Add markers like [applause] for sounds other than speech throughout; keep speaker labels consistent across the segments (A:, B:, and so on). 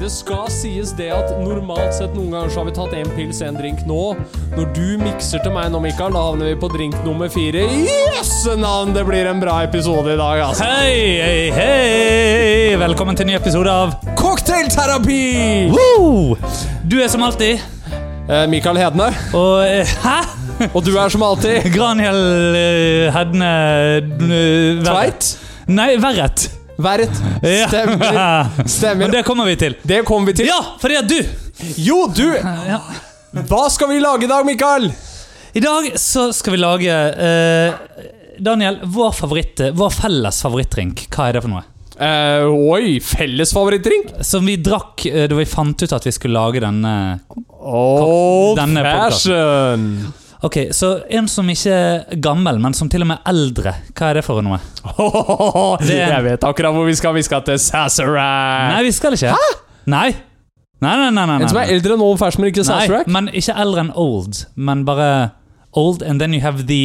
A: Det skal sies det at normalt sett noen ganger så har vi tatt en pils, en drink nå. Når du mikser til meg nå, Mikael, da havner vi på drink nummer fire. Jøsse navn, det blir en bra episode i dag, altså.
B: Hei, hei, hei! Velkommen til en ny episode av
A: Cocktailterapi!
B: Woo! Du er som alltid,
A: Eh, Mikael Hedne,
B: og eh, Hæ?
A: og du er som alltid
B: Granhild eh, Hedne eh, Verret.
A: Tveit.
B: Nei, Verret.
A: Verret.
B: Ja.
A: Stemmer.
B: [laughs] Men
A: Stemmer.
B: det kommer vi til.
A: Det kommer vi til.
B: Ja, fordi at du
A: Jo, du!
B: ja.
A: Hva skal vi lage i dag, Mikael?
B: I dag så skal vi lage eh, Daniel, vår, favoritt, eh, vår felles favorittdrink, hva er det for noe?
A: Eh, oi, felles favorittdrink?
B: Som vi drakk eh, da vi fant ut at vi skulle lage denne
A: Old
B: Denne
A: fashion.
B: Ok, så en som ikke er gammel, men som til og med er eldre. Hva er det for noe? Det-
A: Jeg vet akkurat hvor vi skal. Vi skal til Sazerac.
B: Nei, vi skal ikke. Hæ? Nei. Nei, nei, nei. nei,
A: En som
B: nei.
A: er eldre enn Old Fashion, men ikke
B: nei,
A: Sazerac?
B: men ikke eldre enn old, men bare old, and then you have the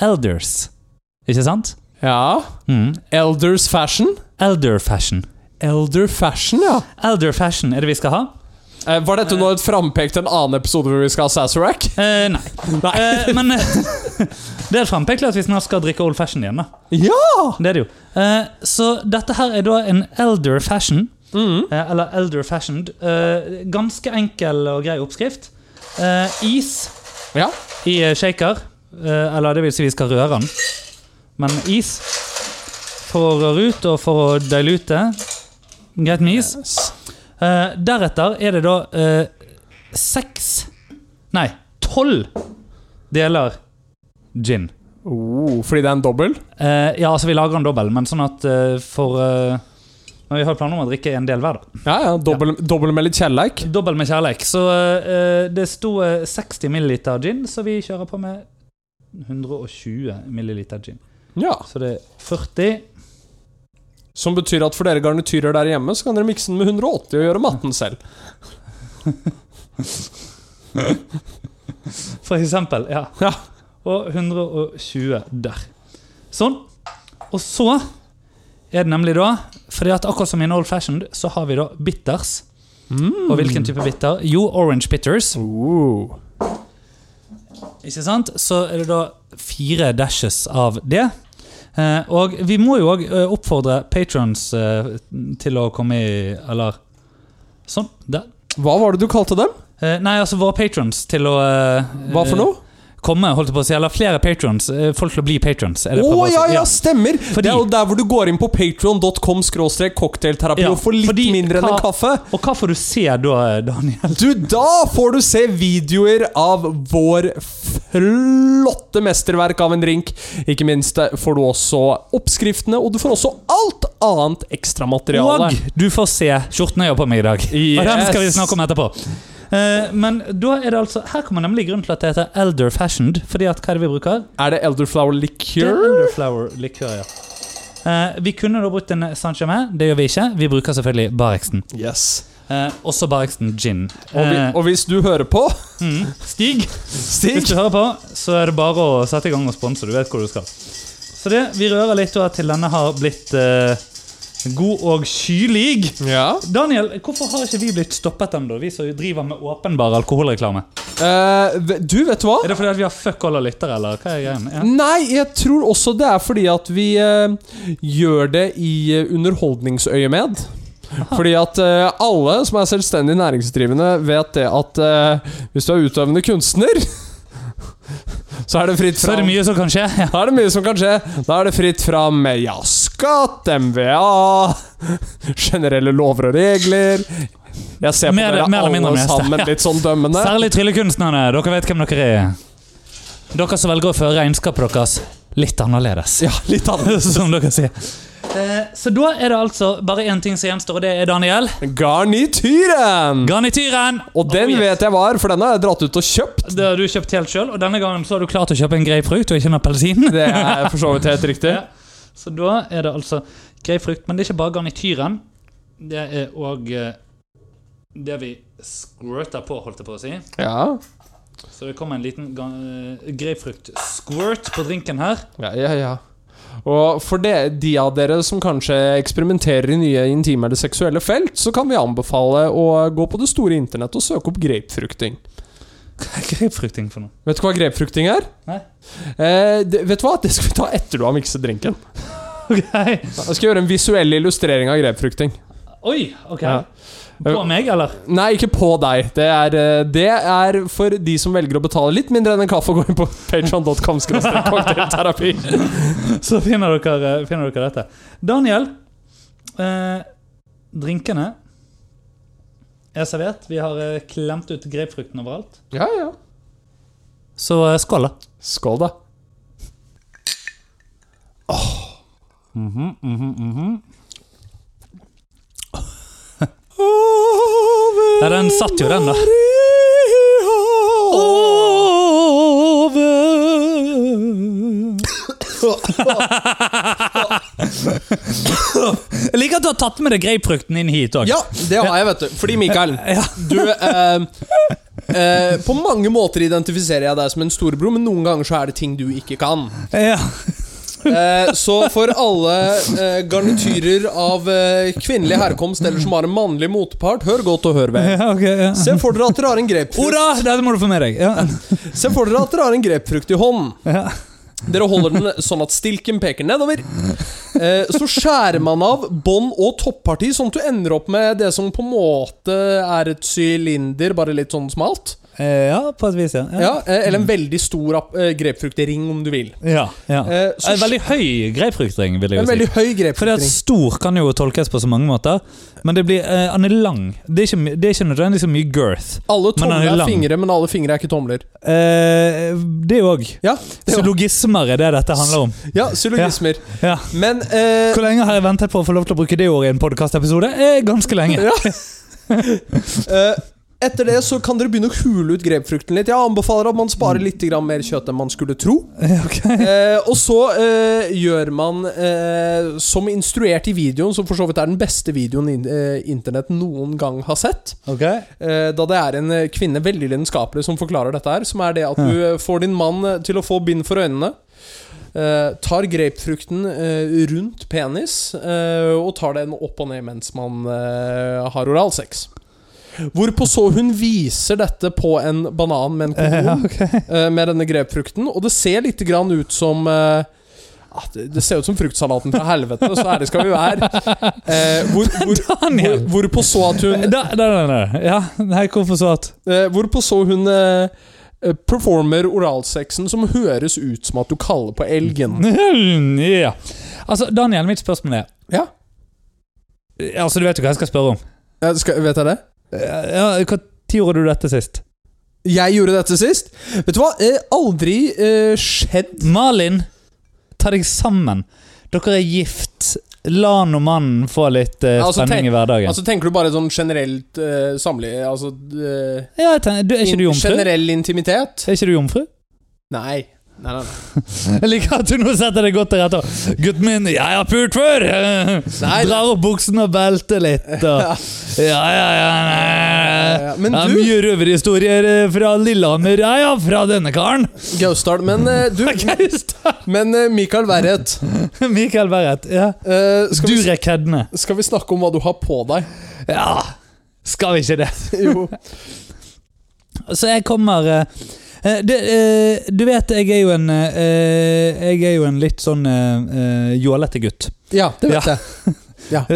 B: elders. Ikke sant?
A: Ja.
B: Mm.
A: Elders Fashion.
B: Elder fashion.
A: Elder Fashion, ja.
B: Elder fashion er det vi skal ha?
A: Eh, var dette nå et frampek til en annen episode hvor vi skal ha Sazerac?
B: Eh, nei. Eh, men eh, [laughs] det er et frampekelig at vi snart skal drikke old fashion igjen. da.
A: Ja!
B: Det er det jo. Eh, så dette her er da en elder fashion. Eh, Eller elder fashioned. Eh, ganske enkel og grei oppskrift. Eh, is
A: Ja.
B: i eh, shaker. Eh, eller det vil si vi skal røre den. Men is for å røre ut og for å dilute. Greit med is. Eh, deretter er det da eh, seks Nei, tolv deler gin.
A: Oh, fordi det er en dobbel?
B: Eh, ja, altså vi lager en dobbel, men sånn at eh, for eh, Men vi har planer om å drikke en del hver, da.
A: Ja, ja. Dobbel, dobbel med litt kjelleik.
B: Dobbel med kjærleik. Så eh, det sto eh, 60 milliliter gin, så vi kjører på med 120 milliliter gin.
A: Ja.
B: Så det er 40
A: Som betyr at for dere garnityrer der hjemme, så kan dere mikse den med 180 og gjøre matten selv.
B: For eksempel, ja.
A: Ja.
B: Og 120 der. Sånn. Og så er det nemlig da fordi at akkurat som i en old fashioned, så har vi da bitters. Og hvilken type bitter? Jo, orange bitters.
A: Oh.
B: Ikke sant? Så er det da fire dashes av det. Eh, og vi må jo òg oppfordre patrons eh, til å komme i Eller sånn. Der.
A: Hva var det du kalte dem?
B: Eh, nei, altså våre patrons til å eh,
A: Hva for noe?
B: komme, holdt jeg på å si, eller flere patrons. eh, Folk til å bli patrons. er
A: Å
B: det jeg prøver å si.
A: ja, ja, stemmer! Det er jo der hvor du går inn på patreon.com cocktailterapi
B: Ja,
A: og får litt
B: fordi
A: mindre enn en kaffe.
B: Og hva får du se da, eh, Daniel?
A: Du, da får du se videoer av vår flotte mesterverk av en drink. Ikke minst eh, får du også oppskriftene, og du får også alt annet ekstramateriale.
B: Og du får se skjorten jeg har på meg i dag. Og den skal vi
A: Yes.
B: snakke om etterpå. Eh, men da er det altså Her kommer nemlig grunnen til at det heter elder fashioned. Fordi at hva er det vi bruker?
A: Er det Elderflower
B: Det er
A: Liqueur?
B: elderflower likør, ja. Eh, vi kunne da brukt en Saint-Germain. Det gjør vi ikke. Vi bruker selvfølgelig Barexen.
A: Yes.
B: Eh, også Barexen gin.
A: Og, vi,
B: Eh,
A: og hvis du hører på, [laughs]
B: mm, Stig, hvis
A: Stig
B: du hører på, så er det bare å sette i gang og sponse. Du vet hvor du skal. Så det, vi rører litt da til denne har blitt eh, god og kylig.
A: Ja.
B: Daniel, hvorfor har ikke vi blitt stoppet ennå, vi som driver med åpenbar alkoholreklame?
A: Eh, v- du, vet du hva?
B: Er det fordi at vi har fuck all av lyttere, eller hva er greien? Ja.
A: Nei, jeg tror også det er fordi at vi eh, gjør det i eh,
B: [laughs]
A: underholdningsøyemed. Fordi at eh, alle som er selvstendig næringsdrivende, vet det at eh, hvis du er utøvende kunstner, [laughs] så er det fritt
B: Så er det
A: fram.
B: mye som kan skje. Ja.
A: Da er det mye som kan skje. Da er det fritt fram med ja, skatt, MVA, [laughs] generelle lover og regler Jeg ser på
B: Mer-
A: dere
B: mer eller mindre
A: alle
B: mest,
A: sammen
B: ja.
A: litt sånn dømmende.
B: Særlig tryllekunstnerne. Dere vet hvem dere er. Dere som velger å føre regnskapet deres litt annerledes.
A: Ja, litt annerledes.
B: [laughs] Som dere sier. Eh, så da er det altså bare én ting som gjenstår, og det er Daniel.
A: Garnityren!
B: Mm. Garnityren!
A: Og den vet jeg var, for den har jeg dratt ut og kjøpt.
B: Det har du kjøpt helt sjøl, og denne gangen så har du klart å kjøpe en grapefrukt og ikke en appelsin.
A: Det er for så vidt helt riktig.
B: Ja. [laughs] Så da er det altså grapefrukt, men det er ikke bare garnityren. Det er òg eh, det vi squirter på, holdt jeg på å si.
A: Ja.
B: Så det kommer en liten ga- eh, grapefrukt-squirt på drinken her.
A: Ja, ja, ja. Og for de, de av dere som kanskje eksperimenterer i nye intime eller seksuelle felt, så kan vi anbefale å gå på det store internett og søke opp grapefrukting.
B: [laughs] Hva er grapefrukting for noe?
A: Vet du hva grapefrukting er?
B: Nei.
A: Eh, det, vet du hva? Det skal vi ta etter du har mikset drinken.
B: Ok.
A: Jeg skal gjøre en visuell illustrering av grapefrukting.
B: Oi, ok.
A: Ja.
B: På meg, eller?
A: Nei, ikke på deg. Det er, eh, det er for de som velger å betale litt mindre enn en kaffe og gå inn på patreon.com cocktailterapi.
B: [laughs] Så finner dere, eh, finner dere dette. Daniel, eh, drinkene er servert. Vi har eh, klemt ut grapefrukten overalt.
A: Ja, ja.
B: Så eh, skål, da.
A: Skål, da.
B: Ja, den satt jo, den, da. Jeg liker at du har tatt med deg grapefrukten inn hit òg.
A: Ja, det har jeg, vet du. Fordi, Mikael, du eh, eh, På mange måter identifiserer jeg deg som en storebror, men noen ganger så er det ting du ikke kan. Eh, så for alle eh, garnityrer av eh, kvinnelig herkomst eller som har en mannlig motpart, hør godt og hør vel.
B: ok, [laughs] ja.
A: Se for dere at dere har en grapefrukt
B: Oda, dette må du få med deg. Ja.
A: Se for dere at dere har en grapefrukt i hånden.
B: Ja.
A: Dere holder den sånn at stilken peker nedover. Eh, Så skjærer man av bånd og topparti, sånn at du ender opp med det som på en måte er et sylinder, bare litt sånn smalt.
B: Eh, ja, på et vis, ja. Ja.
A: Ja, eh, eller en veldig stor ap- eh, grapefruktring, om du vil.
B: ja, ja.
A: Eh, Så
B: En veldig høy grapefruktring, vil jeg
A: en
B: jo si.
A: veldig høy
B: Fordi at
A: grapefruktring.
B: Stor kan jo tolkes på så mange måter, men det blir, eh, han er lang. Det er ikke, my- det er ikke nødvendigvis så mye girth.
A: Alle
B: Men den
A: tomler
B: er
A: er
B: lang.
A: fingre, men alle fingre er ikke tomler.
B: Eh, det òg.
A: Ja, det
B: Så
A: er,
B: logismer er det dette handler om.
A: ja syllogismer.
B: Ja.
A: Men eh,
B: Hvor lenge har jeg ventet på å få lov til å bruke det ordet i en podkastepisode? Eh, ganske lenge.
A: Ja. Eh, Etter det så kan dere begynne å hule ut grepfrukten litt. Jeg anbefaler at man sparer litt grann mer kjøtt enn man skulle tro.
B: Eh, ok.
A: Eh, og så eh, gjør man, eh, som instruert i videoen, som for så vidt er den beste videoen in eh, internett noen gang har sett, eh, da det er en eh, kvinne veldig lidenskapelig som forklarer dette her, som er det at du eh, får din mann eh, til å få bind for øynene. eh, tar grapefrukten eh, rundt penis eh, og tar den opp og ned mens man eh, har oralsex. Hvorpå så hun viser dette på en banan med en
B: Eh,
A: kondom
B: [laughs] ok. [laughs]
A: eh, med denne grepfrukten. Og det ser litt grann ut som eh, ah, det, det ser ut som fruktsalaten fra helvete, så ærlig skal vi være. Eh, hvor, hvor, hvor,
B: Daniel!
A: hvorpå så at hun
B: Da, da, da, da. Ja, nei, hvorfor svart?
A: eh, Hvorpå så hun eh, eh, performer oralsexen som høres ut som at du kaller på
B: Mm.
A: elgen.
B: [laughs] ja. Altså, Daniel, mitt spørsmål er
A: Ja,
B: Altså, Du vet jo hva jeg skal spørre om.
A: ja, skal, Vet jeg det?
B: Eh, Ja, hva tid gjorde du dette sist?
A: Jeg gjorde dette sist. Vet du hva? Eh, aldri eh, skjedd
B: Malin, ta deg sammen. Dere er gift. La nå mannen få litt eh,
A: Altså,
B: spenning
A: tenk-
B: i hverdagen.
A: Altså Tenker du bare sånn generelt eh, samlig... Altså eh,
B: ja, jeg tenker, du, er ikke du
A: in-
B: jomfru?
A: Generell intimitet?
B: Er ikke du jomfru?
A: Nei. Nei, nei, nei.
B: Jeg liker at du nå setter deg godt til rette. og, Gutten min, jeg har pult før!
A: Nei,
B: Drar opp buksene og belter
A: [laughs]
B: litt. Og, ja, ja, ja, nei.
A: Ja, men
B: Ja,
A: du-
B: Mye røverhistorier eh, fra Lillehammer. Ja, ja, fra denne karen.
A: Gausdal. Men, eh,
B: [laughs]
A: du,
B: Gaustad.
A: men eh, Mikael Verret,
B: Mikael Berret. Ja.
A: eh, skal, vi,
B: Durek Hedne.
A: skal vi snakke om hva du har på
B: [laughs]
A: deg?
B: Ja, skal vi ikke det?
A: Jo.
B: Så jeg kommer eh, eh, det, eh, Du vet, jeg er jo en eh, Jeg er jo en litt sånn eh, eh, jålete gutt.
A: Ja, det vet
B: Ja.
A: jeg.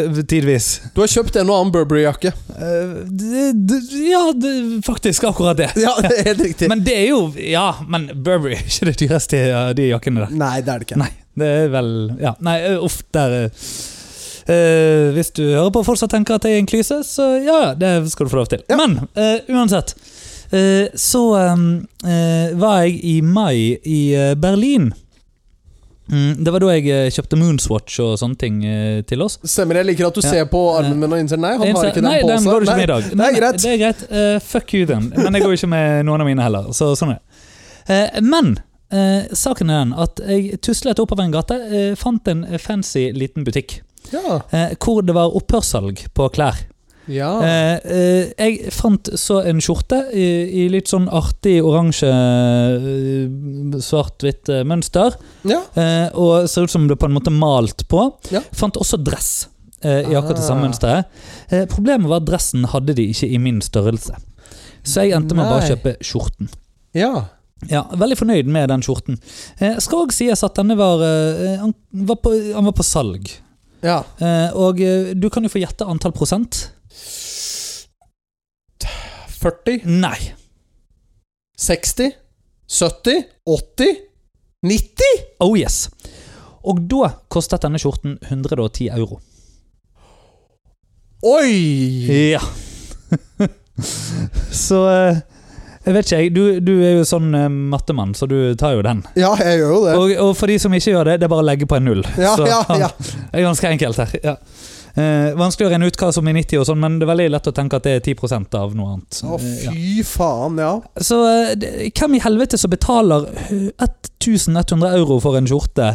B: Eh, [laughs] Tidvis.
A: Du har kjøpt en og annen Burberry-jakke.
B: Eh, d- d- Ja, d- faktisk akkurat det.
A: Ja, det er [laughs] helt riktig.
B: Men det er jo Ja, men Burberry er ikke det dyreste av de jakkene der.
A: Nei, det er det ikke.
B: Nei, det er vel Ja, nei, eh, uff, der eh, eh, Hvis du hører på folk som tenker at jeg er en klyse, så ja, ja, det skal du få lov til.
A: Ja.
B: Men eh, uansett. eh, så eh, eh, var jeg i mai i eh, Berlin. Mm, det var da jeg eh, kjøpte Moonswatch og sånne ting eh, til oss.
A: Stemmer, jeg liker at du
B: Ja.
A: ser på armen min og innser nei, han har
B: Eneste-
A: ikke den
B: nei,
A: på
B: den
A: seg.
B: går du ikke med
A: Nei.
B: i dag.
A: det
B: Nei,
A: er greit.
B: Det er greit. Eh, fuck you, den. Men jeg går jo ikke med noen av mine heller. Så sånn er det. Eh, men eh, saken er den at jeg tuslet oppover en gate, eh, fant en fancy liten butikk
A: Ja.
B: eh, hvor det var opphørssalg på klær.
A: Ja.
B: Eh, eh, jeg fant så en skjorte i, i litt sånn artig oransje, eh, svart-hvitt eh, mønster.
A: ja.
B: Eh, og ser ut som det på en måte er malt på.
A: Ja.
B: Fant også dress eh, i akkurat det
A: Ah.
B: samme mønsteret. Eh, problemet var at dressen hadde de ikke i min størrelse. Så jeg endte med å bare
A: Nei.
B: kjøpe skjorten.
A: ja.
B: Ja, Veldig fornøyd med den skjorten. Eh, skal òg sies at denne var, eh, han, var på, han var på salg.
A: ja.
B: Eh, og eh, du kan jo få gjette antall prosent.
A: 40?
B: Nei.
A: 60? 70? 80? 90?
B: Oh yes. Og da kostet denne skjorten 110 euro.
A: Oi!
B: Ja. [laughs] så eh, jeg vet ikke, jeg. Du, du er jo sånn eh, mattemann, så du tar jo den.
A: Ja, jeg gjør jo det.
B: Og, og for de som ikke gjør det, det er bare å legge på en null.
A: [laughs] Ja,
B: så [laughs]
A: ja, ja.
B: det er ganske enkelt her. Ja. Eh, vanskelig å regne ut hva som er 90, og sånn, men det er veldig lett å tenke at det er 10 av noe annet. Eh,
A: Å,
B: Ja.
A: fy faen, ja.
B: Så eh, det- hvem i helvete som betaler eh, 1100 euro for en skjorte?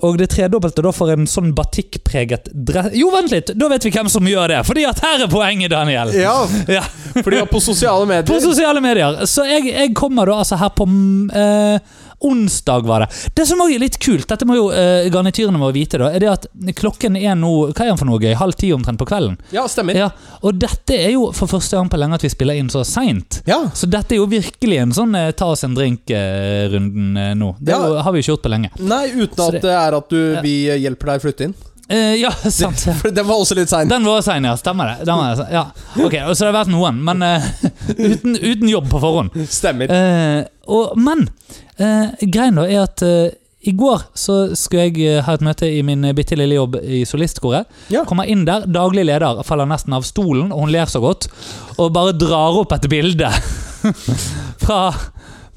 B: Og det tredobbelte da for en sånn batikkpreget dress Jo, vent litt! Da vet vi hvem som gjør det! Fordi at her er poenget, Daniel!
A: Ja,
B: Ja.
A: for de var på sosiale medier.
B: På sosiale medier. Så jeg, jeg kommer da altså her på mm, eh, onsdag, var det. Det som også er litt kult, dette må jo eh, garnityrene våre vite, da, er det at klokken er nå Hva er den for noe gøy? Halv ti omtrent på kvelden?
A: Ja, stemmer.
B: Ja, Og dette er jo for første gang på lenge at vi spiller inn så seint.
A: Ja.
B: Så dette er jo virkelig en sånn eh, ta oss en drink-runden eh, nå. Det er
A: Ja.
B: jo, har vi ikke gjort på lenge.
A: Nei, uten
B: Så
A: at
B: det-
A: det er at du, vi hjelper deg å flytte inn. [laughs]
B: Eh, ja, [laughs] sant.
A: For den var også litt sein.
B: Den var sein, ja. Stemmer det. Den var, sein, ja. Ok, Så det har vært noen, men eh, [laughs] uten, uten jobb på forhånd.
A: Stemmer.
B: Eh, og, men uh, greien da er at eh, i går så skulle jeg eh, ha et møte i min eh, bitte lille jobb i solistkoret.
A: Ja.
B: Kommer inn der, daglig leder faller nesten av stolen, og hun ler så godt. Og bare drar opp et bilde fra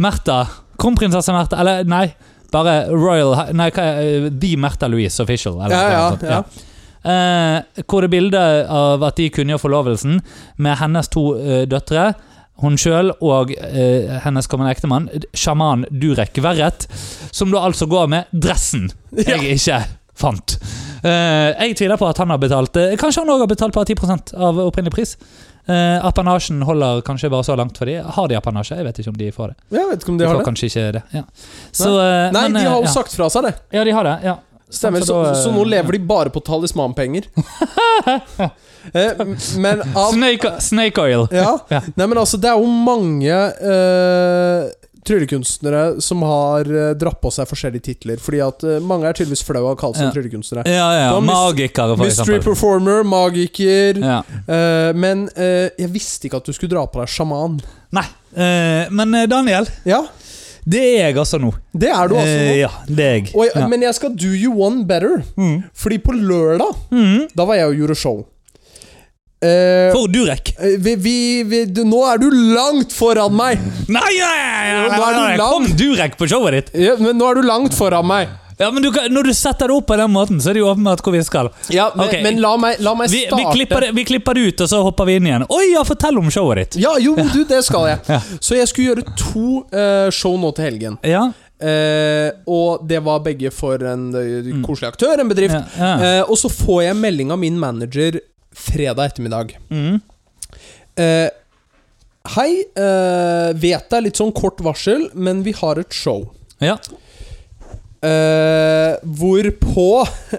B: Märtha. Kronprinsesse Märtha, eller nei. Bare Royal Nei, hva er eh, The Märtha Louise Official. Eller,
A: Ja, ja,
B: noe sånt. Eh, hvor det er bilde av at de kunngjør forlovelsen med hennes to eh, døtre. Hun sjøl og eh, hennes kommende ektemann, sjaman Durek Verret, som da altså går med dressen
A: Ja.
B: jeg ikke fant. Eh, jeg tviler på at han har betalt eh, Kanskje han òg har betalt bare 10 av opprinnelig pris. Eh, apanasjen holder kanskje bare så langt for de Har de apanasje? Jeg vet ikke om de får det.
A: Jeg vet ikke om
B: De
A: de
B: får
A: har det.
B: kanskje ikke det. Ja. Så, eh,
A: Nei,
B: men,
A: de
B: eh,
A: har jo
B: ja.
A: sagt fra seg det.
B: Ja, de har det. Ja.
A: Stemmer. Så,
B: da, eh,
A: så nå lever de bare på talismanpenger. [laughs] Eh, men
B: [laughs]
A: av
B: Snake, snake oil.
A: Ja.
B: Ja.
A: Nei, men altså, det er jo mange eh, tryllekunstnere som har eh, dratt på seg forskjellige titler. Fordi at eh, mange er tydeligvis flau av å kalle seg
B: Ja.
A: tryllekunstnere.
B: Ja, ja.
A: Da mis-
B: Magikere, for
A: Mystery
B: eksempel.
A: performer, magiker
B: Ja.
A: eh, Men eh, jeg visste ikke at du skulle dra på deg sjaman.
B: Nei, eh, men eh, Daniel,
A: Ja,
B: det er jeg altså nå.
A: det er du altså
B: Eh,
A: nå.
B: ja, det er jeg.
A: Og jeg,
B: ja.
A: Men jeg skal do you one better.
B: Mm.
A: Fordi på lørdag,
B: Mm.
A: da var jeg og gjorde show. Eh,
B: For Durek.
A: eh, vi, vi, vi, du, nå er du langt foran meg!
B: Nei, nei, nei, nei,
A: Nå er du
B: nei, nei.
A: lang.
B: Kom Durek på showet ditt!
A: Ja, men nå er du langt foran meg.
B: Ja, men du, kan- Når du setter det opp på den måten, så er det jo åpenbart hvor vi skal.
A: Ja, Men,
B: Ok.
A: men la meg, la meg
B: Vi,
A: starte.
B: vi, klipper, det, vi klipper det ut, og så hopper vi inn igjen. Oi, ja, fortell om showet ditt!
A: Ja, jo, men du, det skal jeg.
B: Ja.
A: Så jeg skulle gjøre to eh, show nå til helgen.
B: Ja,
A: Eh, og det var begge for en eh, koselig aktør, en bedrift.
B: Mm. ja, ja.
A: Eh, og så får jeg melding av min manager fredag ettermiddag.
B: Mm.
A: Eh, hei, eh, vet det er litt sånn kort varsel, men vi har et show.
B: ja.
A: Eh, hvorpå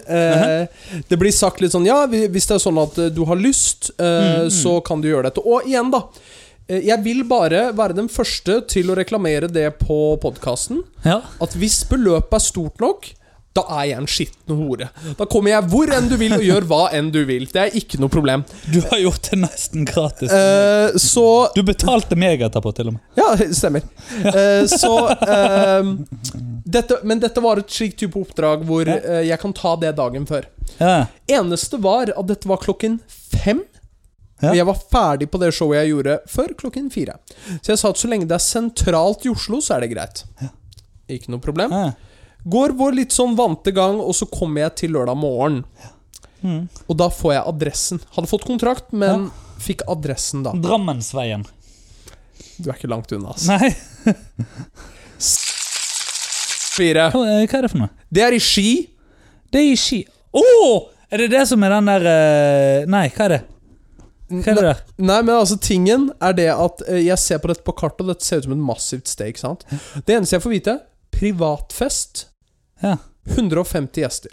A: eh, det blir sagt litt sånn Ja, vi- hvis det er sånn at eh, du har lyst, eh, så kan du gjøre dette. Og igjen, da. eh, Jeg vil bare være den første til å reklamere det på podkasten.
B: ja.
A: At hvis beløpet er stort nok, da er jeg en skitten hore. Da kommer jeg hvor enn du vil, og gjør hva enn du vil. Det er ikke noe problem.
B: Du har gjort det nesten gratis.
A: Eh, så
B: Du betalte meg etterpå, til og med.
A: Ja, det stemmer. Eh, så ehm, dette, Men dette var et slikt type oppdrag hvor
B: Ja.
A: eh, jeg kan ta det dagen før.
B: Ja.
A: Eneste var at dette var klokken fem.
B: Ja.
A: Og jeg var ferdig på det showet jeg gjorde før klokken fire. Så jeg sa at så lenge det er sentralt i Oslo, så er det greit. Ikke noe problem.
B: Ja.
A: Går vår litt sånn vante gang, og så kommer jeg til lørdag morgen.
B: Mm.
A: Og da får jeg adressen. Hadde fått kontrakt, men fikk adressen da.
B: Drammensveien.
A: Du er ikke langt unna, ass.
B: Nei,
A: Fire.
B: hva eh, hva er det for noe?
A: Det er i Ski.
B: Det er i Ski. Å! er det det som er den der eh, Nei, hva er det? Hva er det der?
A: Nei, men altså tingen er det at eh, jeg ser på dette på kartet, og dette ser ut som et massivt steak. sant? Det eneste jeg får vite, privatfest.
B: Ja.
A: 150 gjester.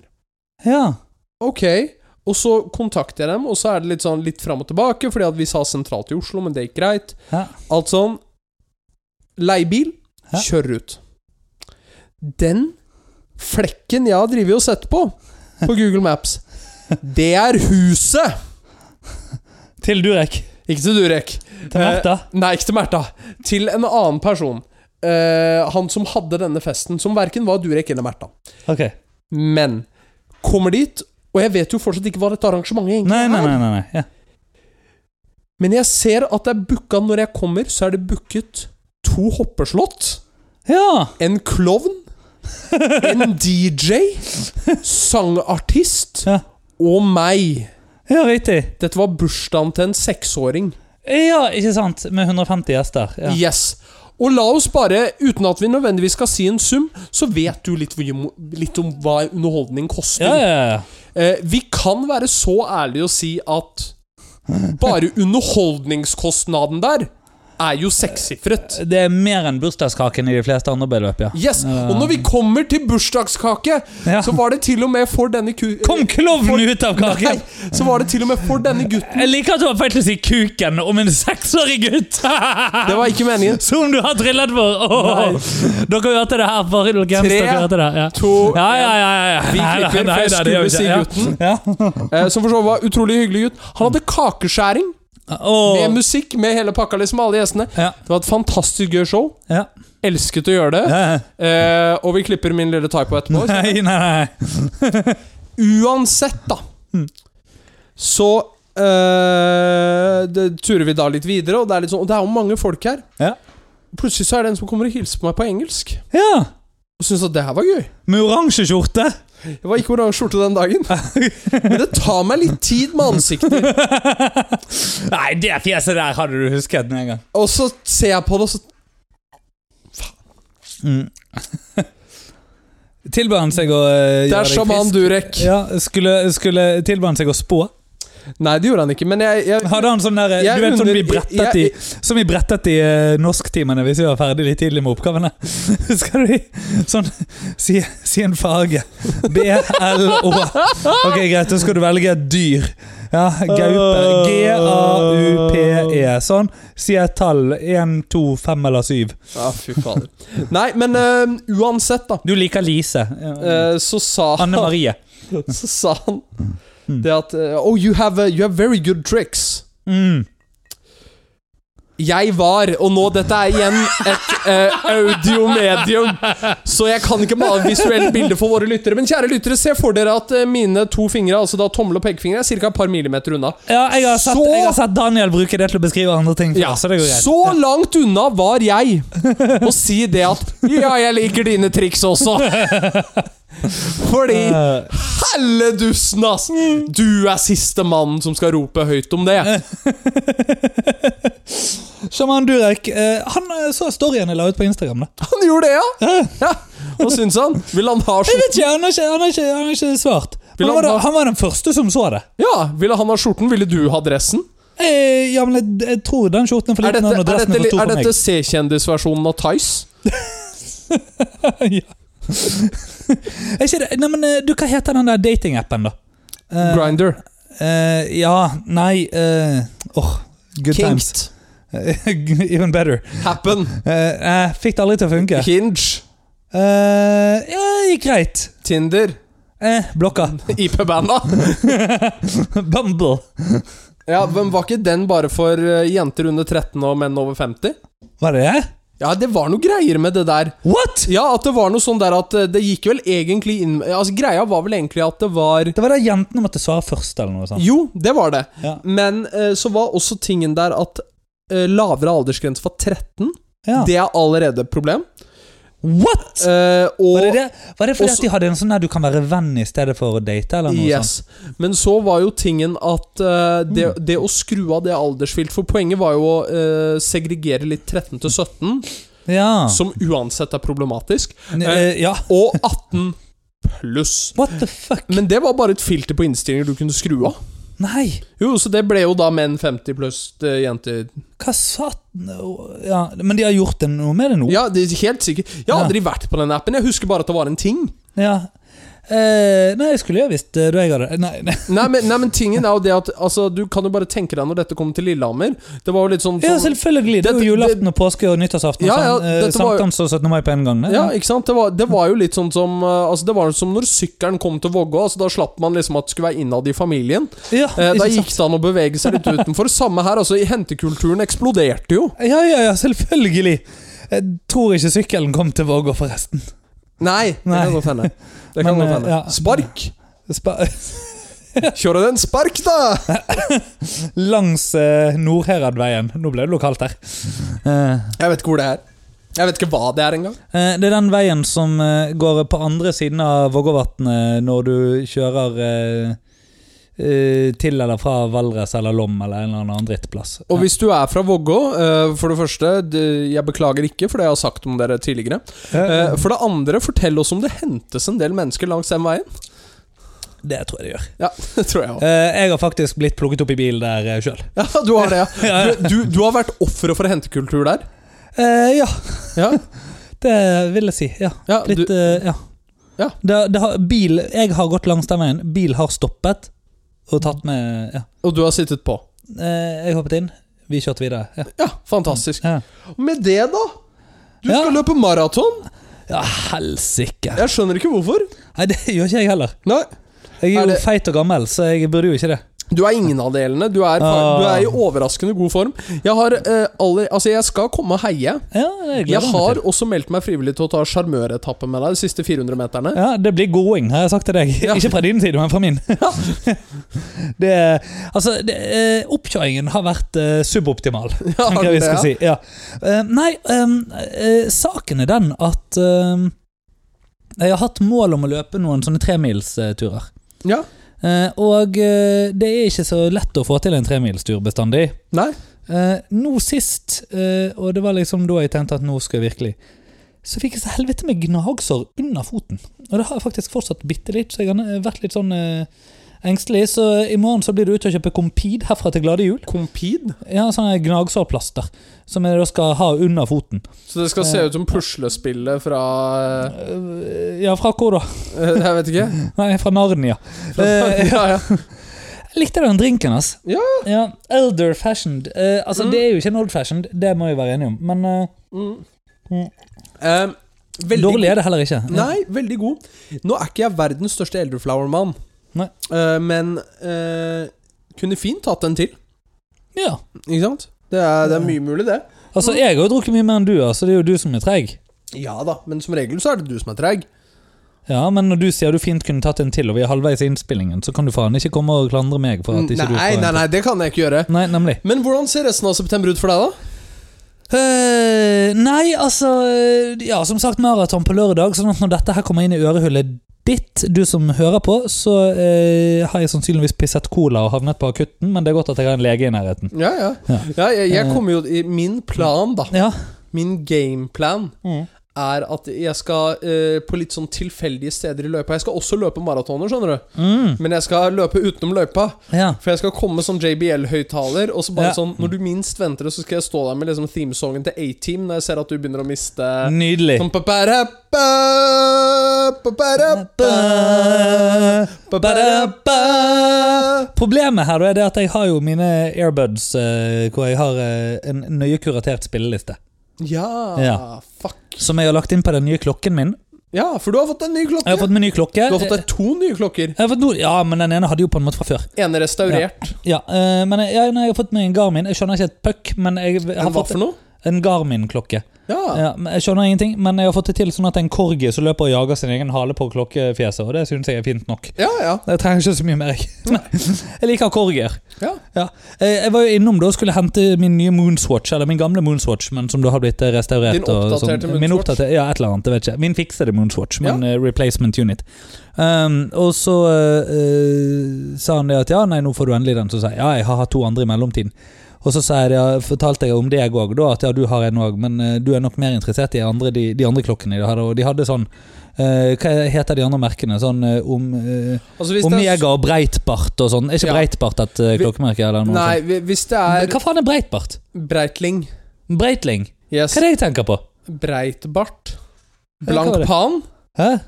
B: Ja.
A: Ok. Og så kontakter jeg dem, og så er det litt sånn litt fram og tilbake, fordi at vi sa sentralt i Oslo, men det gikk greit.
B: ja.
A: Alt sånn Lei bil,
B: Ja.
A: kjør ut. Den flekken jeg har drevet og sett på på Google Maps, det er huset!
B: Til Durek.
A: Ikke til Durek. Eh,
B: Til Märtha.
A: Nei, ikke til Märtha. Til en annen person. Eh, han som hadde denne festen, som verken var Durek eller Märtha.
B: Ok.
A: Men kommer dit, og jeg vet jo fortsatt ikke hva dette arrangementet egentlig
B: Nei, nei,
A: er.
B: nei. nei, nei. Ja.
A: Men jeg ser at det er booka når jeg kommer, så er det booket to hoppeslott,
B: ja.
A: en klovn,
B: [laughs]
A: en DJ, sangartist
B: Ja.
A: og meg.
B: Ja, riktig.
A: Dette var bursdagen til en seksåring.
B: Ja, ikke sant? Med 150 gjester. Ja.
A: Yes. Og la oss bare, uten at vi nødvendigvis skal si en sum, så vet du litt, hvor- litt om hva underholdning koster.
B: Ja, ja, ja.
A: Eh, vi kan være så ærlige og si at bare underholdningskostnaden der er jo sekssifret.
B: Det er mer enn bursdagskaken i de fleste andre billøp, ja.
A: Yes. Og når vi kommer til bursdagskake,
B: Ja.
A: så var det til og med for denne ku...
B: Kom klovnen ut av
A: [laughs] Nei,
B: kaken!
A: så var det til og med for denne gutten.
B: Jeg liker at du har feil til å si 'kuken' om en seksårig gutt!
A: Det var ikke meningen.
B: Som du har trillet for! Åh. Dere hørte det her. Bare Games,
A: Tre,
B: dere hørte det. Ja.
A: To
B: Ja, ja, ja, ja, ja.
A: Vi klipper, for jeg skulle si gutten,
B: Ja.
A: eh, som for så vidt var utrolig hyggelig gutt. Han hadde kakeskjæring.
B: Åh.
A: Med musikk, med hele pakka, liksom alle gjestene.
B: Ja.
A: Det var et fantastisk gøy show.
B: Ja.
A: Elsket å gjøre det.
B: Ja.
A: Eh, og vi klipper min lille typo etterpå.
B: Nei, nei, nei.
A: Uansett, da,
B: Mm.
A: så eh, det, turer vi da litt videre, og det er litt sånn Og det er jo mange folk her.
B: Ja.
A: Plutselig så er det en som kommer og hilser på meg på engelsk.
B: ja.
A: Og syns at det her var gøy.
B: Med oransje skjorte. [laughs]
A: Jeg var ikke oransje skjorte den dagen. Men det tar meg litt tid med ansiktet.
B: Nei, det fjeset der hadde du husket med en gang.
A: Og så ser jeg på det, og så
B: Mm. [laughs] Tilbød han seg å eh,
A: Det
B: gjøre
A: er
B: deg
A: sjaman
B: frisk?
A: Durek.
B: Ja, skulle, skulle tilbød han seg å spå?
A: Nei, det gjorde han ikke, men jeg, jeg
B: Hadde han sånn der, eh,
A: Jeg
B: du vet sånn
A: under-
B: vi brettet i
A: jeg-
B: Som vi brettet i eh, norsktimene hvis vi var ferdig litt tidlig med oppgavene. [laughs] Skal du i- sånn si, si en farge. B-L-Å. Ok, greit, da skal du velge et dyr. Ja, gaupe. G-A-U-P-E. Sånn. Si et tall. Én, to, fem eller syv.
A: Ja, Ah, fy fader. Nei, men eh, uansett, da.
B: Du liker Lise. Ja.
A: Eh, så sa
B: Anne
A: han
B: Marie.
A: [laughs] Så sa han det at eh, Oh, you have, eh, you have very good tricks.
B: Mm.
A: Jeg var, og nå dette er igjen et eh, audiomedium, så jeg kan ikke male visuelt bilde for våre lyttere. Men kjære lyttere, se for dere at eh, mine to fingre, altså da tommel og pekefinger, er ca. et par millimeter unna.
B: Ja, jeg har, sett,
A: Så-
B: jeg har sett Daniel bruke det til å beskrive andre ting. før,
A: Ja,
B: så det går greit.
A: Så langt unna var jeg å si det at Ja, jeg liker dine triks
B: [laughs]
A: også. Fordi
B: Eh,
A: Helledussen, ass! Du er siste mannen som skal rope høyt om det.
B: Eh. Sjaman Durek eh, Han eh, så storyen jeg la ut på Instagram. da
A: Han gjorde det, ja!
B: Eh.
A: ja. Hva syns han? Vil han ha
B: Jeg [laughs]
A: skjorten?
B: vet ikke, Han har ikke, han har ikke, han har ikke svart.
A: Vil
B: Han
A: han
B: var, da,
A: ha-
B: han var den første som så det.
A: Ja, ville han ha skjorten? Ville du ha dressen?
B: Eh, ja, men jeg, jeg tror den skjorten er for
A: Er
B: liten
A: dette,
B: og
A: er
B: dressen
A: dette,
B: er for
A: li-
B: stor
A: er
B: for meg.
A: dette C-kjendisversjonen av Tice?
B: [laughs] ja. er ikke det, nei, men, eh, du, hva heter den der datingappen, da? Eh,
A: Grinder.
B: eh, ja, nei eh, Åh, good times. [laughs]
A: Kinked.
B: Even better.
A: Happen.
B: Eh, eh, fikk det aldri til å funke.
A: Hinge.
B: Eh, ja, det gikk greit.
A: Tinder. [laughs]
B: Eh, blokka.
A: IP-banda.
B: Bumble.
A: Ja, men Var ikke den bare for eh, jenter under 13 og menn over 50?
B: Var det det?
A: Ja, det var noe greier med det der.
B: What?!
A: Ja, at det var noe sånn der at eh, det gikk vel egentlig inn Altså, Greia var vel egentlig at det var
B: Det var da jentene måtte svare først, eller noe sånt.
A: Jo, det var det.
B: Ja.
A: Men eh, så var også tingen der at eh, lavere aldersgrense var 13.
B: Ja.
A: Det er allerede et problem.
B: What?!
A: Eh, og
B: Var det, det? Var det fordi
A: Også-
B: at de hadde en sånn der du kan være venn i stedet for å date? eller noe sånt? Mm.
A: Yes. Men så var jo tingen at eh, det, det å skru av det aldersfilteret For poenget var jo å eh, segregere litt 13 til 17,
B: Ja.
A: som uansett er problematisk,
B: N-
A: eh,
B: eh, ja.
A: og 18 pluss.
B: What the fuck?
A: Men det var bare et filter på innstillinger du kunne skru av.
B: Nei!
A: Jo, så det ble jo da menn 50 pluss eh, jenter
B: Hva satan ja, Men de har gjort det noe med det nå?
A: Ja, det er helt sikkert. Jeg har aldri vært på den appen. Jeg husker bare at det var en ting.
B: Ja. Eh, nei, jeg skulle jo visst eh, da jeg hadde Nei,
A: [laughs]
B: nei.
A: Nei, men, nei, men tingen er jo det at altså, Du kan jo bare tenke deg når dette kom til Lillehammer. Det var jo litt sånn,
B: Ja,
A: sånn
B: selvfølgelig. Det er
A: Dette-
B: jo julaften og påske og nyttårsaften. og
A: Ja, ja,
B: sånn. Eh,
A: dette var jo-
B: Sankthans og 17. mai på en gang. det.
A: ja, ikke sant? Det var, det var jo litt sånn som eh, Altså Det var jo som når sykkelen kom til Vågå. Altså, da slapp man liksom at det skulle være innad i familien.
B: ja,
A: Eh, da
B: ikke sant?
A: gikk det an å bevege seg litt utenfor. Samme her, altså. i Hentekulturen eksploderte jo.
B: Ja, ja, ja, selvfølgelig. Jeg tror ikke sykkelen kom til Vågå, forresten.
A: Nei, det
B: Nei.
A: kan godt hende. Det
B: Men,
A: kan godt
B: eh,
A: hende.
B: ja.
A: Spark!
B: Spa
A: Kjører den spark, da!
B: Langs eh, Nordheradveien. Nå ble det lokalt her. Eh,
A: Jeg vet ikke hvor det er. Jeg vet ikke hva det er engang.
B: eh, det er den veien som eh, går på andre siden av Vågåvatnet når du kjører eh, eh, til eller fra Valdres eller Lom eller en eller annen drittplass.
A: Og hvis du er fra Vågå, eh, for det første, det- jeg beklager ikke for det jeg har sagt om dere tidligere. Eh, For det andre, fortell oss om det hentes en del mennesker langs den veien.
B: det tror jeg det gjør.
A: Ja, [laughs] det tror jeg òg.
B: Eh, jeg har faktisk blitt plukket opp i bil der eh, sjøl.
A: Ja, du har det, ja.
B: [laughs] Ja, ja.
A: Du, du, du har vært offeret for hentekultur der.
B: Eh, ja,
A: Ja,
B: det vil jeg si. Ja.
A: ja
B: Litt,
A: du,
B: eh, ja.
A: Ja.
B: Det, det har, bil, jeg har gått langs den veien. Bil har stoppet og tatt
A: Mm.
B: med ja.
A: og du har sittet på.
B: Eh, Jeg hoppet inn, vi kjørte videre. Ja.
A: Ja, fantastisk.
B: Ja.
A: Med det, da? Du
B: Ja.
A: skal løpe maraton?
B: Ja, helsike!
A: Jeg skjønner ikke hvorfor.
B: Nei, det gjør ikke jeg heller.
A: Nei
B: Jeg
A: Er
B: er jo
A: det-
B: feit og gammel, så jeg burde jo ikke det.
A: Du er ingen av delene. Du er,
B: Ah.
A: du er i overraskende god form. Jeg har eh, aller, Altså, jeg skal komme og heie.
B: Ja, det gleder
A: Jeg
B: meg
A: har
B: til.
A: også meldt meg frivillig til å ta sjarmøretappe med deg de siste 400 meterne.
B: ja, Det blir going, har jeg sagt til deg.
A: Ja.
B: Ikke fra din side, men
A: [laughs]
B: fra min. det, altså, det, eh, oppkjøringen har vært eh, suboptimal.
A: Ja,
B: tenker jeg vi
A: det-
B: skal si. Ja. Eh, nei, ehm, eh, saken er den at ehm, jeg har hatt mål om å løpe noen sånne tremilsturer.
A: Ja.
B: Eh, og eh, det er ikke så lett å få til en tremilstur bestandig.
A: Nei?
B: Eh, nå sist, eh, og det var liksom da jeg tenkte at nå skal jeg virkelig Så fikk jeg så helvete med gnagsår under foten. Og det har jeg faktisk fortsatt bitte litt, så jeg har vært litt sånn eh, engstelig. Så i morgen så blir det ut og kjøpe Compede herfra til glade jul.
A: Compede?
B: Ja, sånne gnagsårplaster som jeg da skal ha under foten.
A: Så det skal
B: Eh.
A: se ut som puslespillet fra eh, [laughs]
B: Øh, Ja, fra hvor da? [laughs]
A: Jeg vet ikke.
B: Nei, fra Narnia.
A: Fra,
B: [laughs] Eh,
A: [laughs] ja, ja.
B: Jeg likte den drinken, ass.
A: Ja.
B: Elder fashioned. Eh, altså,
A: Mm.
B: det er jo ikke en old fashioned, det må vi være enige om, men eh,
A: Mm.
B: Mm.
A: Eh, veldig
B: dårlig er det heller ikke. Ja.
A: Nei, veldig god. Nå er ikke jeg verdens største elderflower-mann,
B: Nei.
A: Eh, men eh, kunne fint hatt en til.
B: Ja.
A: Ikke sant? Det er, det er mye mulig, det.
B: Altså, jeg har jo drukket mye mer enn du, altså. Det er jo du som er treig.
A: Ja da, men som regel så er det du som er treig.
B: Ja, men når du sier du fint kunne tatt en til, og vi er halvveis i innspillingen, så kan du faen ikke komme og klandre meg for at ikke du får
A: Nei,
B: en
A: nei, nei, det kan jeg ikke gjøre.
B: til. Nei, nemlig.
A: Men hvordan ser resten av september ut for deg, da?
B: Eh, nei, altså eh, Ja, som sagt, maraton på lørdag. Sånn at når dette her kommer inn i ørehullet ditt, du som hører på, så eh, har jeg sannsynligvis pisset cola og havnet på akutten, men det er godt at jeg har en lege i nærheten.
A: Ja, ja.
B: Ja. Eh.
A: ja jeg, jeg kommer jo i Min plan, da.
B: Ja. Mm.
A: Min gameplan er at jeg skal eh, på litt sånn tilfeldige steder i løypa. Jeg skal også løpe maratoner, skjønner du.
B: Mm.
A: Men jeg skal løpe utenom løypa.
B: ja.
A: For jeg skal komme sånn som JBL-høyttaler, og så bare
B: Ja.
A: sånn Når du minst venter det, så skal jeg stå der med liksom themesongen til A-Team når jeg ser at du begynner å miste
B: Nydelig.
A: Sånn pa-pa-ra-pa, pa-pa-ra-pa, pa-pa-ra-pa.
B: Problemet her da er det at jeg har jo mine airbuds eh, hvor jeg har eh, en nøye kuratert spilleliste.
A: Ja,
B: Ja.
A: fuck.
B: Som jeg har lagt inn på den nye klokken min.
A: Ja, for du har fått en ny
B: Jeg har
A: klokke.
B: fått min nye klokke.
A: Du har fått deg to nye klokker.
B: Jeg har fått no ja, men den ene hadde jeg jo på en måte fra før.
A: Ene restaurert.
B: Ja, eh, men jeg, ja, nei, jeg har fått meg en Garmin. Jeg skjønner ikke et puck, men jeg har
A: Men hva
B: fått
A: for noe?
B: en Garmin-klokke.
A: Ja.
B: Ja, men jeg skjønner ingenting, men jeg har fått det til sånn at det er en corgi som løper og jager sin egen hale på klokkefjeset, og det syns jeg er fint nok.
A: Ja, ja.
B: Jeg trenger ikke så mye mer, jeg. Jeg liker corgier.
A: ja.
B: Ja. Eh, Jeg var jo innom da og skulle hente min nye Moonswatch, eller min gamle Moonswatch, men som da har blitt eh, restaurert.
A: Din
B: og
A: oppdaterte
B: sånn. Min
A: Moonswatch?
B: oppdaterte, ja, et eller annet, jeg vet ikke. Min fiksede Moonswatch, min eh, replacement unit. Um, og så eh, eh, sa han det at ja, nei, nå får du endelig den. Så sa jeg ja, jeg har hatt to andre i mellomtiden. Og så sa jeg, det, ja, fortalte jeg om det jeg òg, at ja, du har en òg, men eh, du er nok mer interessert i andre, de, de andre klokkene de hadde. Og de hadde sånn eh, Hva heter de andre merkene? Sånn eh, om, eh,
A: Altså, hvis det er-
B: Omega og Breitbart og sånn. Er ikke
A: Ja.
B: Breitbart et eh,
A: Vi-
B: klokkemerke? Eller noe
A: Nei, hvi- hvis det
B: sånt?
A: er
B: Hva faen er Breitbart?
A: Breitling
B: Breitling?
A: Yes.
B: Hva er det jeg tenker på?
A: Breitbart.
B: Ja, hva var
A: Blank
B: det?
A: pan.
B: Hæ?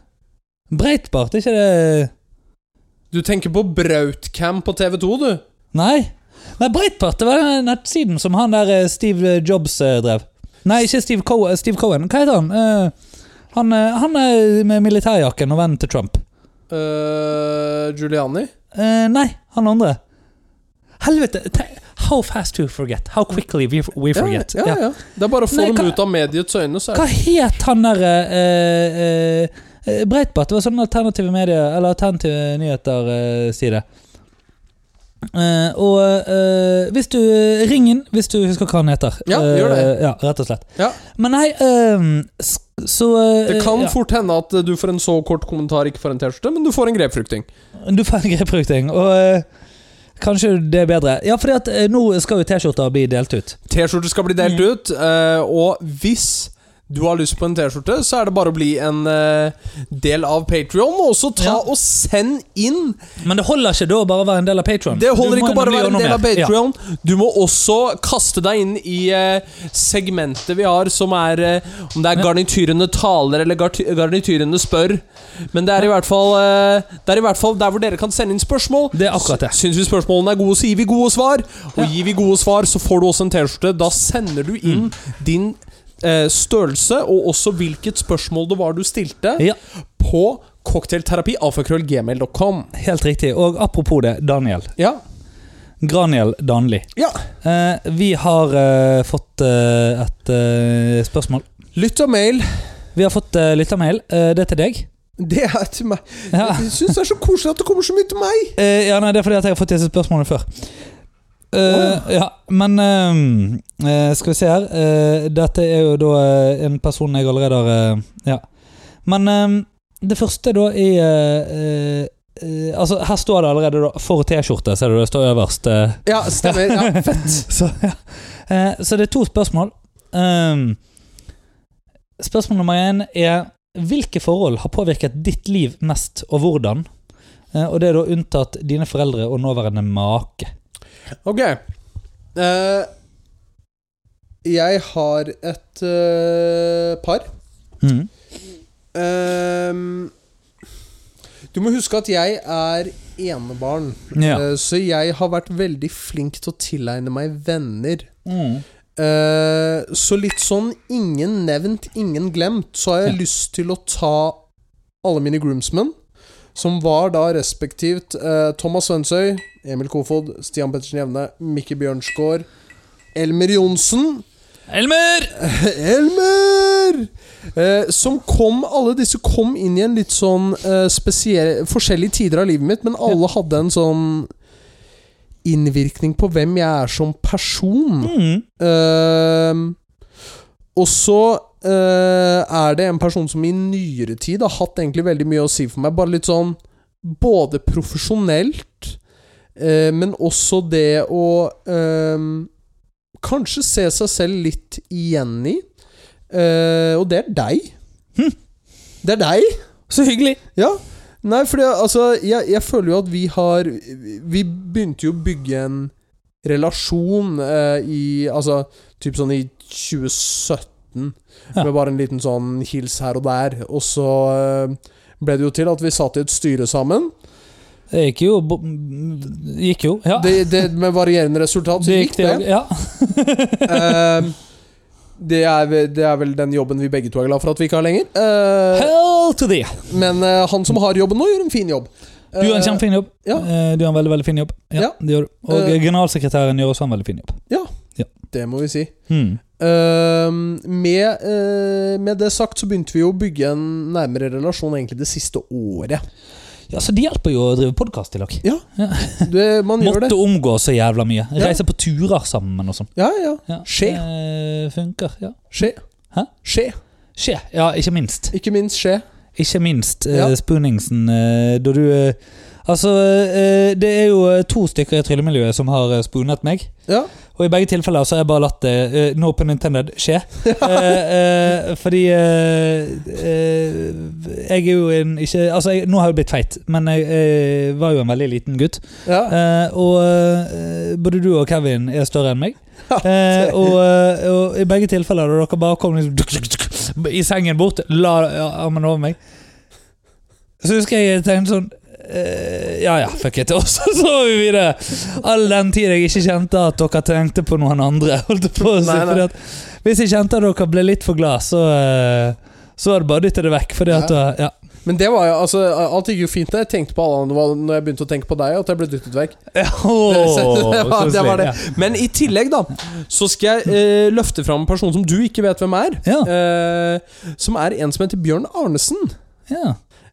B: Breitbart, er ikke det
A: Du tenker på Brautcam på TV2, du.
B: Nei. Nei, Breitbart det var den nettsiden som han der eh, Steve Jobs eh, drev. Nei, ikke Steve, Co eh, Steve Cohen. Hva heter han? Eh, han, eh, han er med militærjakken og vennen til Trump.
A: Eh, Giuliani.
B: Eh, nei, han andre. Helvete! te- How fast to forget. How quickly we, we
A: Ja,
B: forget.
A: ja,
B: Ja.
A: ja. Det er bare å få
B: Nei,
A: dem
B: hva-
A: ut av mediets øyne, så
B: Hva
A: er
B: het han der eh, eh, eh, Breitbart? Det var sånn alternative medier Eller alternative eh, nyheter-side. og eh, hvis du Ring inn hvis du husker hva han heter.
A: Ja,
B: Eh,
A: gjør det.
B: ja, rett og slett.
A: Ja.
B: Men nei eh, s- Så eh,
A: det kan
B: ja.
A: fort hende at du får en så kort kommentar ikke får en T-skjorte, men du får en grepfrukting.
B: Du får en grepfrukting. Og eh, kanskje det er bedre. Ja, fordi at eh, nå skal jo T-skjorter bli delt ut.
A: T-skjorter skal bli delt
B: Mm.
A: ut, eh, og hvis du har lyst på en T-skjorte, så er det bare å bli en eh, del av Patrion. Og også ta
B: Ja.
A: og send inn
B: Men det holder ikke da å bare være en del av Patron.
A: Det holder ikke å bare være en del av Patreon. Du må også kaste deg inn i eh, segmentet vi har, som er eh, Om det er
B: Ja.
A: garnityrene taler eller garty- garnityrene spør. Men det er i hvert fall eh, Det er i hvert fall der hvor dere kan sende inn spørsmål.
B: Det er akkurat det.
A: S- Syns vi spørsmålene er gode, så gir vi gode svar. Og
B: Ja.
A: gir vi gode svar, så får du også en T-skjorte. Da sender du inn
B: Mm.
A: din eh, størrelse, og også hvilket spørsmål det var du stilte,
B: Ja.
A: på cocktailterapi.gmail.com.
B: Helt riktig. Og apropos det, Daniel.
A: Ja.
B: Graniel Danli.
A: ja.
B: Eh, vi har eh, fått eh, et eh, spørsmål.
A: Lytt og mail.
B: Vi har fått eh, lyttermail. Eh, det er til deg.
A: Det er til meg.
B: Ja.
A: Jeg syns det er så koselig at det kommer så mye til meg.
B: Eh, ja, nei, det er fordi at jeg har fått disse spørsmålene før. Eh, ja, men eh, eh, Skal vi se her. Eh, dette er jo da eh, en person jeg allerede har eh, Ja. Men eh, det første da i eh, eh, eh, Altså, her står det allerede da 'for T-skjorte', ser du det står øverst. eh.
A: Ja, stemmer. Ja, fett.
B: Så, [laughs] ja. eh, så det er to spørsmål. Um, spørsmål nummer én er hvilke forhold har påvirket ditt liv mest, og hvordan? Eh, og det er da unntatt dine foreldre og nåværende make.
A: Ok. Eh, jeg har et eh, par. Mm. Ehm, du må huske at jeg er enebarn,
B: Ja.
A: eh, så jeg har vært veldig flink til å tilegne meg venner.
B: Mm.
A: Eh, så litt sånn ingen nevnt, ingen glemt, så har jeg lyst til å ta alle mine groomsmen, som var da respektivt eh, Thomas Svensøy, Emil Kofod, Stian Pettersen Jevne, Mikke Bjørnsgaard, Elmer Johnsen [laughs]
B: Elmer!
A: Elmer! Eh, som kom, alle disse kom inn i en litt sånn eh, spesiell Forskjellige tider av livet mitt, men alle hadde en sånn innvirkning på hvem jeg er som person.
B: Mm.
A: Ehm, og så eh, er det en person som i nyere tid har hatt egentlig veldig mye å si for meg. Bare litt sånn Både profesjonelt, eh, men også det å ehm, Kanskje se seg selv litt igjen i. Eh, og det er deg. Det er deg!
B: Så hyggelig!
A: Ja. Nei, fordi altså jeg, jeg føler jo at vi har Vi begynte jo å bygge en relasjon eh, i Altså typ sånn i 2017.
B: Ja.
A: Med bare en liten sånn hils her og der. Og så eh, ble det jo til at vi satt i et styre sammen.
B: Det gikk jo bo- Gikk jo, ja.
A: Det, det, med varierende resultat. Så gikk det.
B: òg, Ja.
A: Eh, det, er, vel- det er vel den jobben vi begge to er glad for at vi ikke har lenger. Eh,
B: Hell to thee!
A: men eh, han som har jobben nå, gjør en fin jobb.
B: Du har en
A: Eh,
B: kjempefin jobb.
A: ja.
B: Eh, Du har en veldig veldig fin jobb. Ja,
A: Ja.
B: Det gjør du. Og
A: Eh.
B: generalsekretæren gjør også en veldig fin jobb.
A: Det må vi si.
B: Mm.
A: Ehm, med, eh, med det sagt så begynte vi jo å bygge en nærmere relasjon egentlig det siste året.
B: Ja, Så det hjelper jo å drive podkast i lag.
A: Det, man gjør
B: Måtte
A: det.
B: omgå så jævla mye.
A: Ja.
B: Reise på turer sammen og sånn.
A: Ja, ja.
B: Ja.
A: Skje.
B: Eh, funker, ja.
A: Skje.
B: Hæ?
A: Skje.
B: Skje, ja, ikke minst.
A: Ikke minst skje.
B: Ikke minst eh,
A: Ja.
B: Spooningsen, eh, da du eh, Altså, eh, det er jo eh, to stykker i tryllemiljøet som har eh, spoonet meg.
A: Ja.
B: Og i begge tilfeller så har jeg bare latt det, eh, no pun intended,
A: [laughs]
B: skje. Eh, eh, fordi eh, eh, Jeg er jo en ikke Altså, jeg, nå har jeg blitt feit, men jeg, eh, var jo en veldig liten gutt.
A: Ja.
B: Eh, og eh, både du og Kevin er større
A: [laughs]
B: enn meg. Eh, og, eh, og i begge tilfeller da dere bare kom liksom, duk, duk, duk, i sengen bort, la ja, armen over meg Så husker jeg jeg tenkte sånn eh, Ja ja, fuck it. [laughs] Og så sov vi videre. All den tid jeg ikke kjente at dere tenkte på noen andre. [laughs] Holdt jeg på å si,
A: Nei, nei.
B: fordi at Hvis jeg kjente at dere ble litt for glad, så eh, så var det bare å dytte det vekk. Fordi at da- ja.
A: Men det var jo altså Alt gikk jo fint da jeg tenkte på alle andre det var når jeg begynte å tenke på deg, at jeg ble dyttet vekk. [laughs]
B: Ja, åh,
A: det var- det var det.
B: koselig.
A: Men i tillegg, da, så skal jeg eh, løfte fram en person som du ikke vet hvem er.
B: Ja.
A: Eh, som er en som heter Bjørn Arnesen.
B: ja.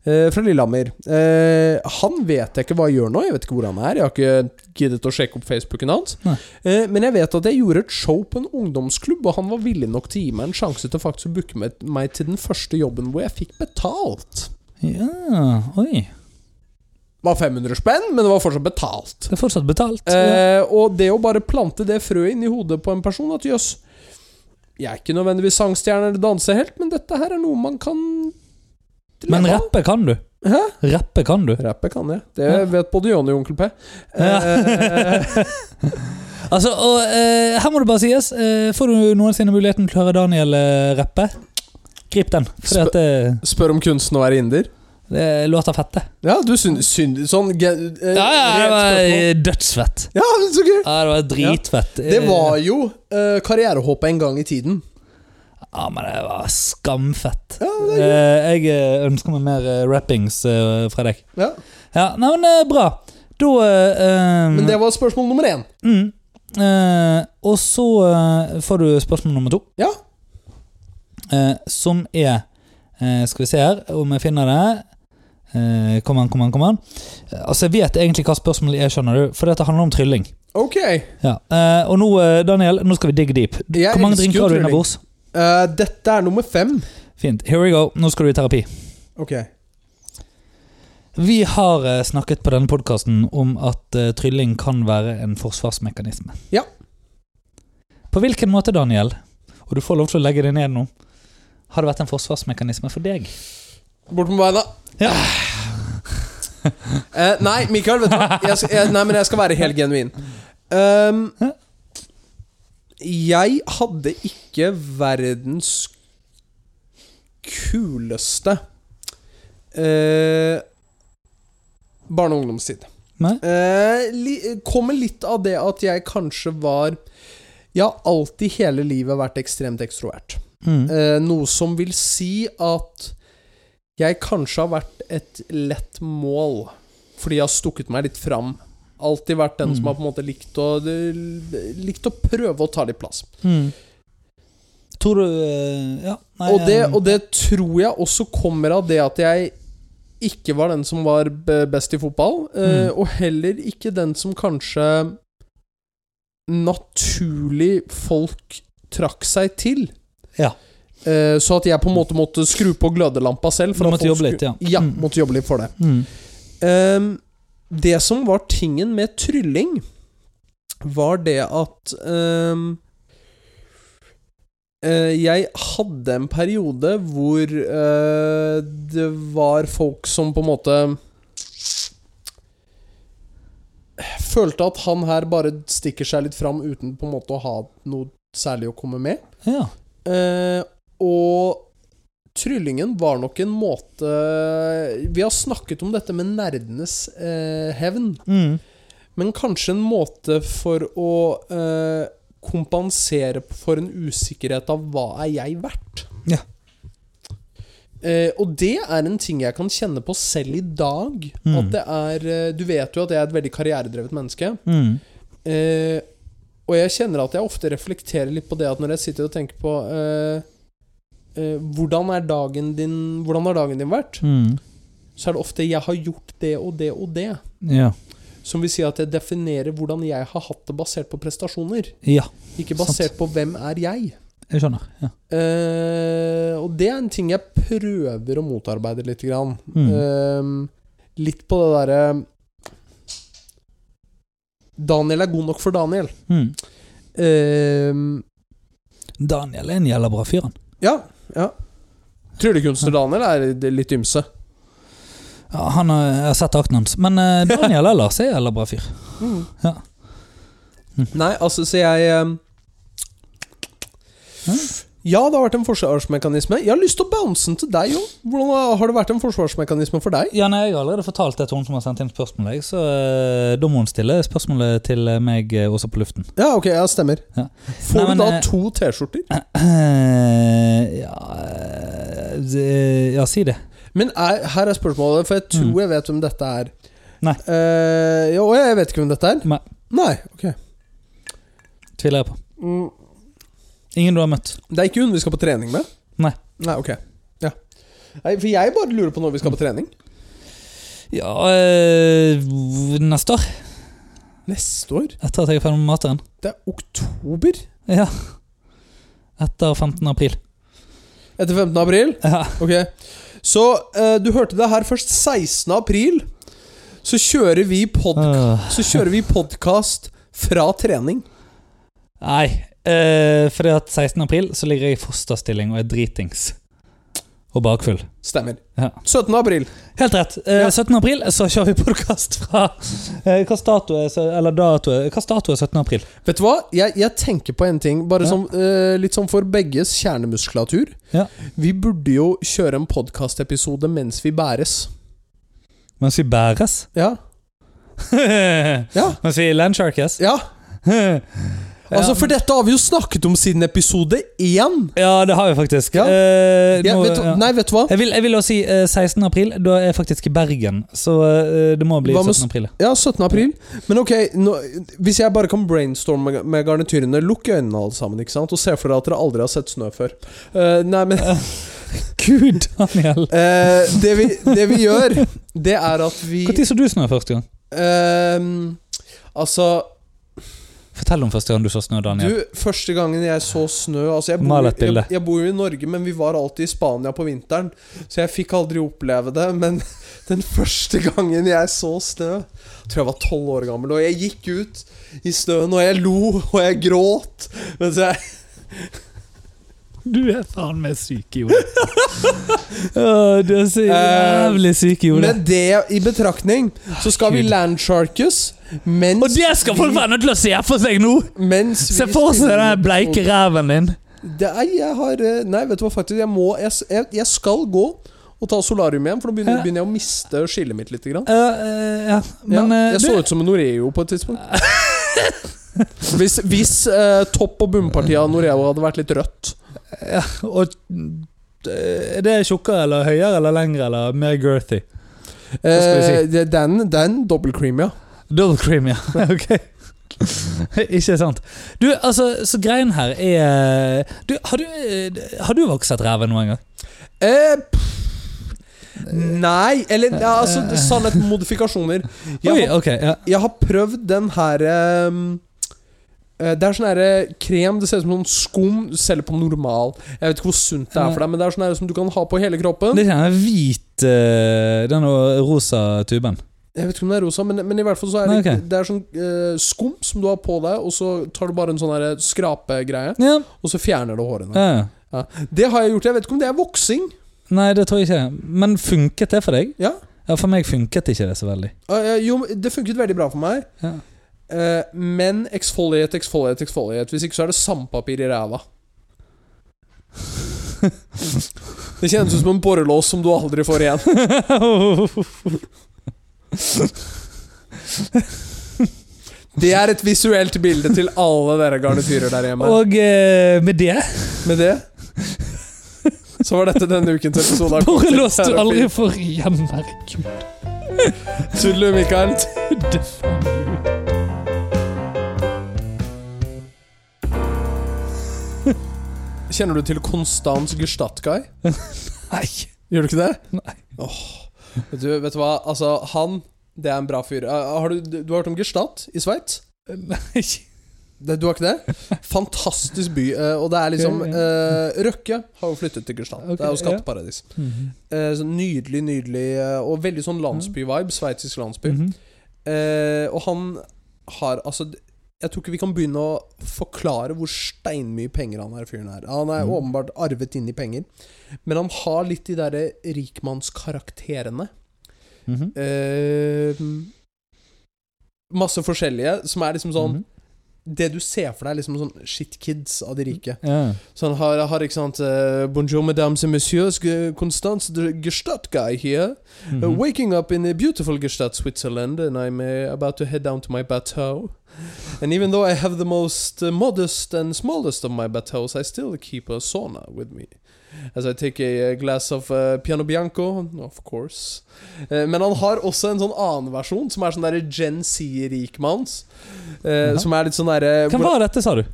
A: eh, fra Lillehammer. Eh, han vet jeg ikke hva jeg gjør nå. Jeg vet ikke hvor han er. Jeg har ikke giddet å sjekke opp Facebooken hans.
B: Nei.
A: Eh, men jeg vet at jeg gjorde et show på en ungdomsklubb, og han var villig nok til å gi meg en sjanse til faktisk å booke meg- meg til den første jobben hvor jeg fikk betalt.
B: Ja, oi.
A: Det var 500 spenn, men det var fortsatt betalt.
B: Det er fortsatt betalt.
A: Eh, og det å bare plante det frøet inn i hodet på en person At jøss, jeg er ikke nødvendigvis sangstjerne eller dansehelt, men dette her er noe man kan
B: Men
A: leve av.
B: rappe kan du.
A: Hæ?
B: Rappe kan du.
A: Rappe kan jeg. Det
B: Ja.
A: vet både Jonny og Onkel P.
B: Ja.
A: Eh, [laughs]
B: Altså, og eh, her må det bare sies, eh, får du noensinne muligheten til å høre Daniel eh, rappe, grip den. For
A: Sp-
B: at det,
A: spør om kunsten å være inder.
B: det låter fette.
A: Ja, du synd... synd sånn ge- eh,
B: Ja, ja, Eh. det
A: rent
B: var
A: spørsmål.
B: eh, dødsfett.
A: ja, men så gøy!
B: Ja, det var dritfett.
A: Det var jo uh, karrierehåpet en gang i tiden.
B: Eh, Ja, men det var skamfett.
A: Ja, det er gøy.
B: Eh, jeg eh, ønsker meg mer eh, rappings eh, fra deg.
A: Ja.
B: Ja, nei, men eh, bra. Da eh, eh,
A: Men det var spørsmål nummer én.
B: mm, eh, Og så eh, får du spørsmål nummer to.
A: Ja.
B: Eh, som er eh, Skal vi se her om jeg finner det. Eh, kom an, kom an, kom an. Eh, Altså, jeg vet egentlig hva spørsmålet er, skjønner du, for dette handler om trylling.
A: Ok.
B: Ja. Eh, og nå, eh, Daniel, nå skal vi digge deep. Du-
A: Jeg
B: Hvor mange
A: elsker jo
B: drinker har du
A: trylling.
B: innabords?
A: Eh, dette er nummer fem.
B: Fint. Here we go. Nå skal du i terapi.
A: Ok.
B: Vi har eh, snakket på denne podkasten om at eh, trylling kan være en forsvarsmekanisme.
A: Ja.
B: På hvilken måte, Daniel, og du får lov til å legge deg ned nå, har det vært en forsvarsmekanisme for deg?
A: Bort med beina.
B: Ja.
A: Eh, nei, Mikael, vet du hva? Jeg, skal- jeg, nei, men jeg skal være helt genuin. Ehm, jeg hadde ikke verdens kuleste eh, barne- og ungdomstid.
B: Nei?
A: Eh, li, kommer litt av det at jeg kanskje var Jeg har alltid hele livet vært ekstremt ekstrovert.
B: Mm.
A: Eh, noe som vil si at jeg kanskje har vært et lett mål, fordi jeg har stukket meg litt fram. Alltid vært den som har på en måte likt å, likt å prøve å ta litt plass.
B: Mm. Tror du eh, Ja. Nei,
A: Og det,
B: eh,
A: og det tror jeg også kommer av det at jeg ikke var den som var b- best i fotball, eh,
B: Mm.
A: og heller ikke den som kanskje naturlig folk trakk seg til.
B: Ja.
A: Eh, så at jeg på en måte måtte skru på glødelampa selv.
B: Du
A: at
B: måtte
A: folk
B: jobbe
A: skulle-
B: litt, ja.
A: Ja,
B: Mm.
A: måtte jobbe litt for det.
B: mm.
A: Ehm, det som var tingen med trylling, var det at ehm, eh, Jeg hadde en periode hvor eh, det var folk som på en måte Følte at han her bare stikker seg litt fram uten på en måte å ha noe særlig å komme med.
B: Ja.
A: Eh, og tryllingen var nok en måte Vi har snakket om dette med nerdenes eh, hevn,
B: Mm.
A: men kanskje en måte for å eh, kompensere for en usikkerhet av hva er jeg verdt?
B: Ja.
A: Eh, og det er en ting jeg kan kjenne på selv i dag.
B: Mm.
A: At det er eh, Du vet jo at jeg er et veldig karrieredrevet menneske.
B: Mm.
A: Eh, og jeg kjenner at jeg ofte reflekterer litt på det at når jeg sitter og tenker på eh, eh, hvordan, er dagen din, hvordan har dagen din vært?
B: Mm.
A: Så er det ofte 'jeg har gjort det og det og det'.
B: Ja.
A: Som vil si at jeg definerer hvordan jeg har hatt det basert på prestasjoner.
B: ja.
A: Ikke basert på hvem er jeg.
B: Jeg skjønner. Ja.
A: Eh, og det er en ting jeg prøver å motarbeide litt. Grann. Eh, litt på det derre Daniel er god nok for Daniel.
B: Mm.
A: Eh,
B: Daniel er en jævla bra fyr, han.
A: ja. ja. Tryllekunstner Daniel er det litt ymse.
B: Ja, han har, jeg har sett akten hans. Men eh, Daniel ellers er en jævla bra fyr. Ja.
A: Nei, altså, så jeg eh,
B: Ja.
A: Ja, det har vært en forsvarsmekanisme. Jeg har lyst til å bounce den til deg òg. Hvordan har det vært en forsvarsmekanisme for deg?
B: Ja, nei, Jeg har allerede fortalt det til hun som har sendt inn spørsmålet, jeg, så eh, da må hun stille spørsmålet til meg eh, også på luften. [clears throat]
A: Ja, ok, ja, stemmer.
B: Ja.
A: Får
B: Nei, men,
A: du da
B: eh,
A: to T-skjorter?
B: Eh, ja, eh, det- ja, si det.
A: Men er, her er spørsmålet, for jeg tror jeg vet hvem dette er.
B: Mm. Nei.
A: Eh, ja, og jeg vet ikke hvem dette er.
B: Nei.
A: Nei, ok.
B: Tviler jeg på. Ingen du har møtt.
A: Det er ikke hun vi skal på trening med?
B: Nei.
A: Nei, ok. Ja. Nei, for jeg bare lurer på når vi skal på trening.
B: Ja, eh, neste år.
A: Neste år?
B: Etter at jeg er ferdig med masteren.
A: Det er oktober?
B: Ja. Etter 15. april.
A: Etter 15. april?
B: Ja.
A: Ok. Så eh, du hørte det her først. 16. april så kjører vi, pod
B: Øh.
A: så kjører vi podkast fra trening.
B: Nei, eh, fordi at 16. april så ligger jeg i fosterstilling og er dritings. Og bakfull.
A: Stemmer.
B: Ja.
A: 17. april.
B: Helt rett. Eh, 17. april så kjører vi podkast fra eh, Hva dato er, sø- eller dato er, hva dato er 17. april?
A: Vet du hva? Jeg, jeg tenker på en ting, bare
B: Ja.
A: som, eh, litt sånn for begges kjernemuskulatur.
B: Ja.
A: Vi burde jo kjøre en podkastepisode mens vi bæres.
B: Mens vi [laughs] bæres?
A: Ja. Ja.
B: Mens vi landsharkes? [laughs]
A: ja. Altså,
B: Ja.
A: For dette har vi jo snakket om siden episode én.
B: Ja, det har vi faktisk.
A: Ja.
B: Eh,
A: Ja,
B: nå-
A: vet du,
B: ja.
A: nei, vet du hva?
B: Jeg vil, jeg vil også si eh, 16. april. Da er jeg faktisk i Bergen, så eh, det må bli
A: Hva med
B: 17. april.
A: Ja, 17. april. Men ok, nå, hvis jeg bare kan brainstorme med- med garnityrene Lukk øynene alle sammen, ikke sant? og se for dere at dere aldri har sett snø før. Eh, nei,
B: [laughs]
A: men
B: Gud, [laughs] Daniel!
A: eh, det, vi, det vi gjør, det er at vi
B: Når så du snø første gang?
A: eh, Altså
B: Fortell om første gang du så snø, Daniel.
A: Du, første gangen jeg så snø altså jeg,
B: Mal
A: bor,
B: et bilde.
A: jeg, jeg bor jo i Norge, men vi var alltid i Spania på vinteren, så jeg fikk aldri oppleve det. Men [laughs] den første gangen jeg så snø, tror jeg var tolv år gammel, og jeg gikk ut i snøen, og jeg lo, og jeg gråt. Mens jeg
B: Du, er faen meg syk [laughs] Eh, i hodet. Å, du er så jævlig syk i hodet.
A: Med det i betraktning, så skal vi
B: Gud.
A: landsharkes mens
B: Og det skal folk
A: vi-
B: være nødt til å se for seg nå!
A: mens vi
B: Se for seg
A: spiller
B: den bleike ræven din.
A: Nei, jeg har eh, Nei, vet du hva, faktisk. Jeg må Jeg, s- jeg, jeg skal gå og ta solarium igjen, for nå begynner,
B: Ja.
A: begynner jeg å miste skillet mitt litt. Grann.
B: Eh, eh, ja,
A: Ja,
B: men eh,
A: jeg så ut som en Noreo på et
B: [laughs]
A: tidspunkt. Hvis, hvis eh, topp- og bunnpartiet av Noreo hadde vært litt rødt.
B: du, og, eh, Er det tjukkere eller høyere eller lengre eller mer girthy? skal vi
A: Eh, det- den, den double cream, ja.
B: Double cream, ja. [laughs] ok. Ikke sant. Du, altså, så greien her er du, har, du, eh, har du vokset ræven noen gang?
A: Eh, pff, nei Eller ja, altså, det- sannhet med modifikasjoner. Jeg
B: Eh, Oi,
A: har,
B: ok, ja.
A: jeg har prøvd den her ehm, eh, eh, det er sånn her, eh, krem Det ser ut som sånn skum du selger på normal. Jeg vet ikke hvor sunt det er for deg, men det er sånn her som du kan ha på hele kroppen.
B: Det er den hvit eh, Den rosa tuben.
A: Jeg vet ikke om det er rosa, men, men i hvert fall så er det,
B: Nei, ok.
A: det er sånn eh, skum som du har på deg, og så tar du bare en sånn her skrapegreie,
B: Ja.
A: og så fjerner du hårene.
B: ja.
A: Ja. Det har jeg gjort. Jeg vet ikke om det er voksing.
B: Nei, det tror jeg ikke. Men funket det for deg?
A: Ja.
B: Ja, For meg funket ikke det så veldig.
A: Eh, jo, det funket veldig bra for meg.
B: Ja.
A: Eh, men exfoliate, exfoliate, exfoliate. Hvis ikke så er det sandpapir i ræva. [laughs] Det kjennes ut som en borrelås som du aldri får igjen. Det er et visuelt bilde til alle dere garnityrer der hjemme.
B: [laughs] Og eh, med det
A: Med det så var dette denne ukens episode av
B: Bare lås du
A: Cocktailterapi.
B: aldri får igjen, [laughs] herregud.
A: Tudelu, Mikael.
B: Det faen meg.
A: Kjenner du til Konstans Gustatkai?
B: Nei.
A: Gjør du ikke det?
B: Nei.
A: Åh. Vet, du, vet du hva, altså,
B: Mhm.
A: han Det er en bra fyr. Eh, Har du, du har hørt om Gestalt i Sveits?
B: Nei.
A: Det, du har ikke
B: [laughs]
A: det? Fantastisk by. eh, Og det er liksom eh, Røkke har jo flyttet til Kristian.
B: Ok,
A: det er jo
B: ja.
A: skatteparadis. Eh, så nydelig, nydelig eh, og veldig sånn landsby-vibe. Sveitsisk landsby.
B: Mhm.
A: Eh, og han har altså d- Jeg tror ikke vi kan begynne å forklare hvor steinmye penger han her fyren er. Han er
B: Mm.
A: åpenbart arvet inn i penger, men han har litt de derre rikmannskarakterene.
B: Mhm.
A: Eh, masse forskjellige, som er liksom sånn
B: Mhm.
A: Det du ser for deg, er liksom sånn shit kids av de rike.
B: Ja.
A: Så han har, har ikke sant eh, Bonjour, mesdames et messieurs, G- Constance de Gestadt guy here.
B: Mhm.
A: Uh, waking up in a beautiful Gestadt, Switzerland, and I'm uh, about to head down to my bateau. And even though I have the most uh, modest and smallest of my bateaus, I still keep a sauna with me. As I take a uh, glass of uh, Piano Bianco, of course. Eh, men han har også en sånn annen versjon, som er sånn derre Gen Z-rikmanns.
B: Jaha.
A: Som er litt sånn derre
B: Hvem var dette, sa du?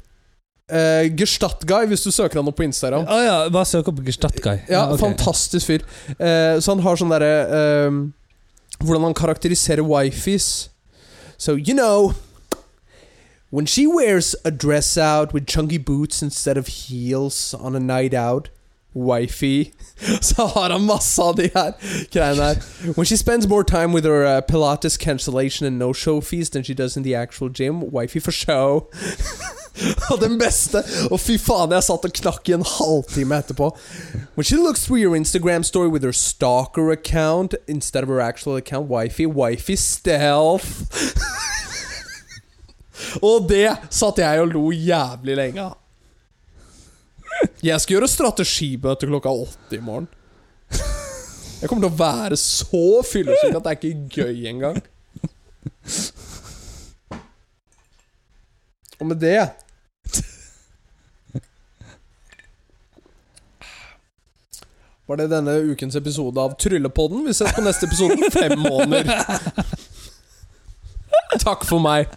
A: Eh, Gestadt-guy, hvis du søker han opp på Instagram.
B: Å Ah, ja, bare søk opp Gestadt-guy.
A: Ja,
B: Ah, ok.
A: fantastisk fyr. Eh, så han har sånn derre ehm, Hvordan han karakteriserer wifis. So, you know When she wears a dress out with chunky boots instead of heels on a night out Wifey [laughs] Så har han masse av de her greiene her. When she spends more time with her uh, Pilates cancellation and no-show fees than she does in the actual gym, wifey for show. [laughs] Og den beste Og fy faen, jeg satt og knakk i en halvtime etterpå. When she looks through your Instagram story with her stalker account instead of her actual account, wifey, wifey stealth. [laughs] og det satt jeg og lo jævlig lenge av. Jeg skal gjøre strategimøte klokka åtte i morgen. Jeg kommer til å være så fyllesyk at det er ikke gøy engang. Og med det Var det denne ukens episode av Tryllepodden. Vi ses på neste episode om fem måneder. Takk for meg.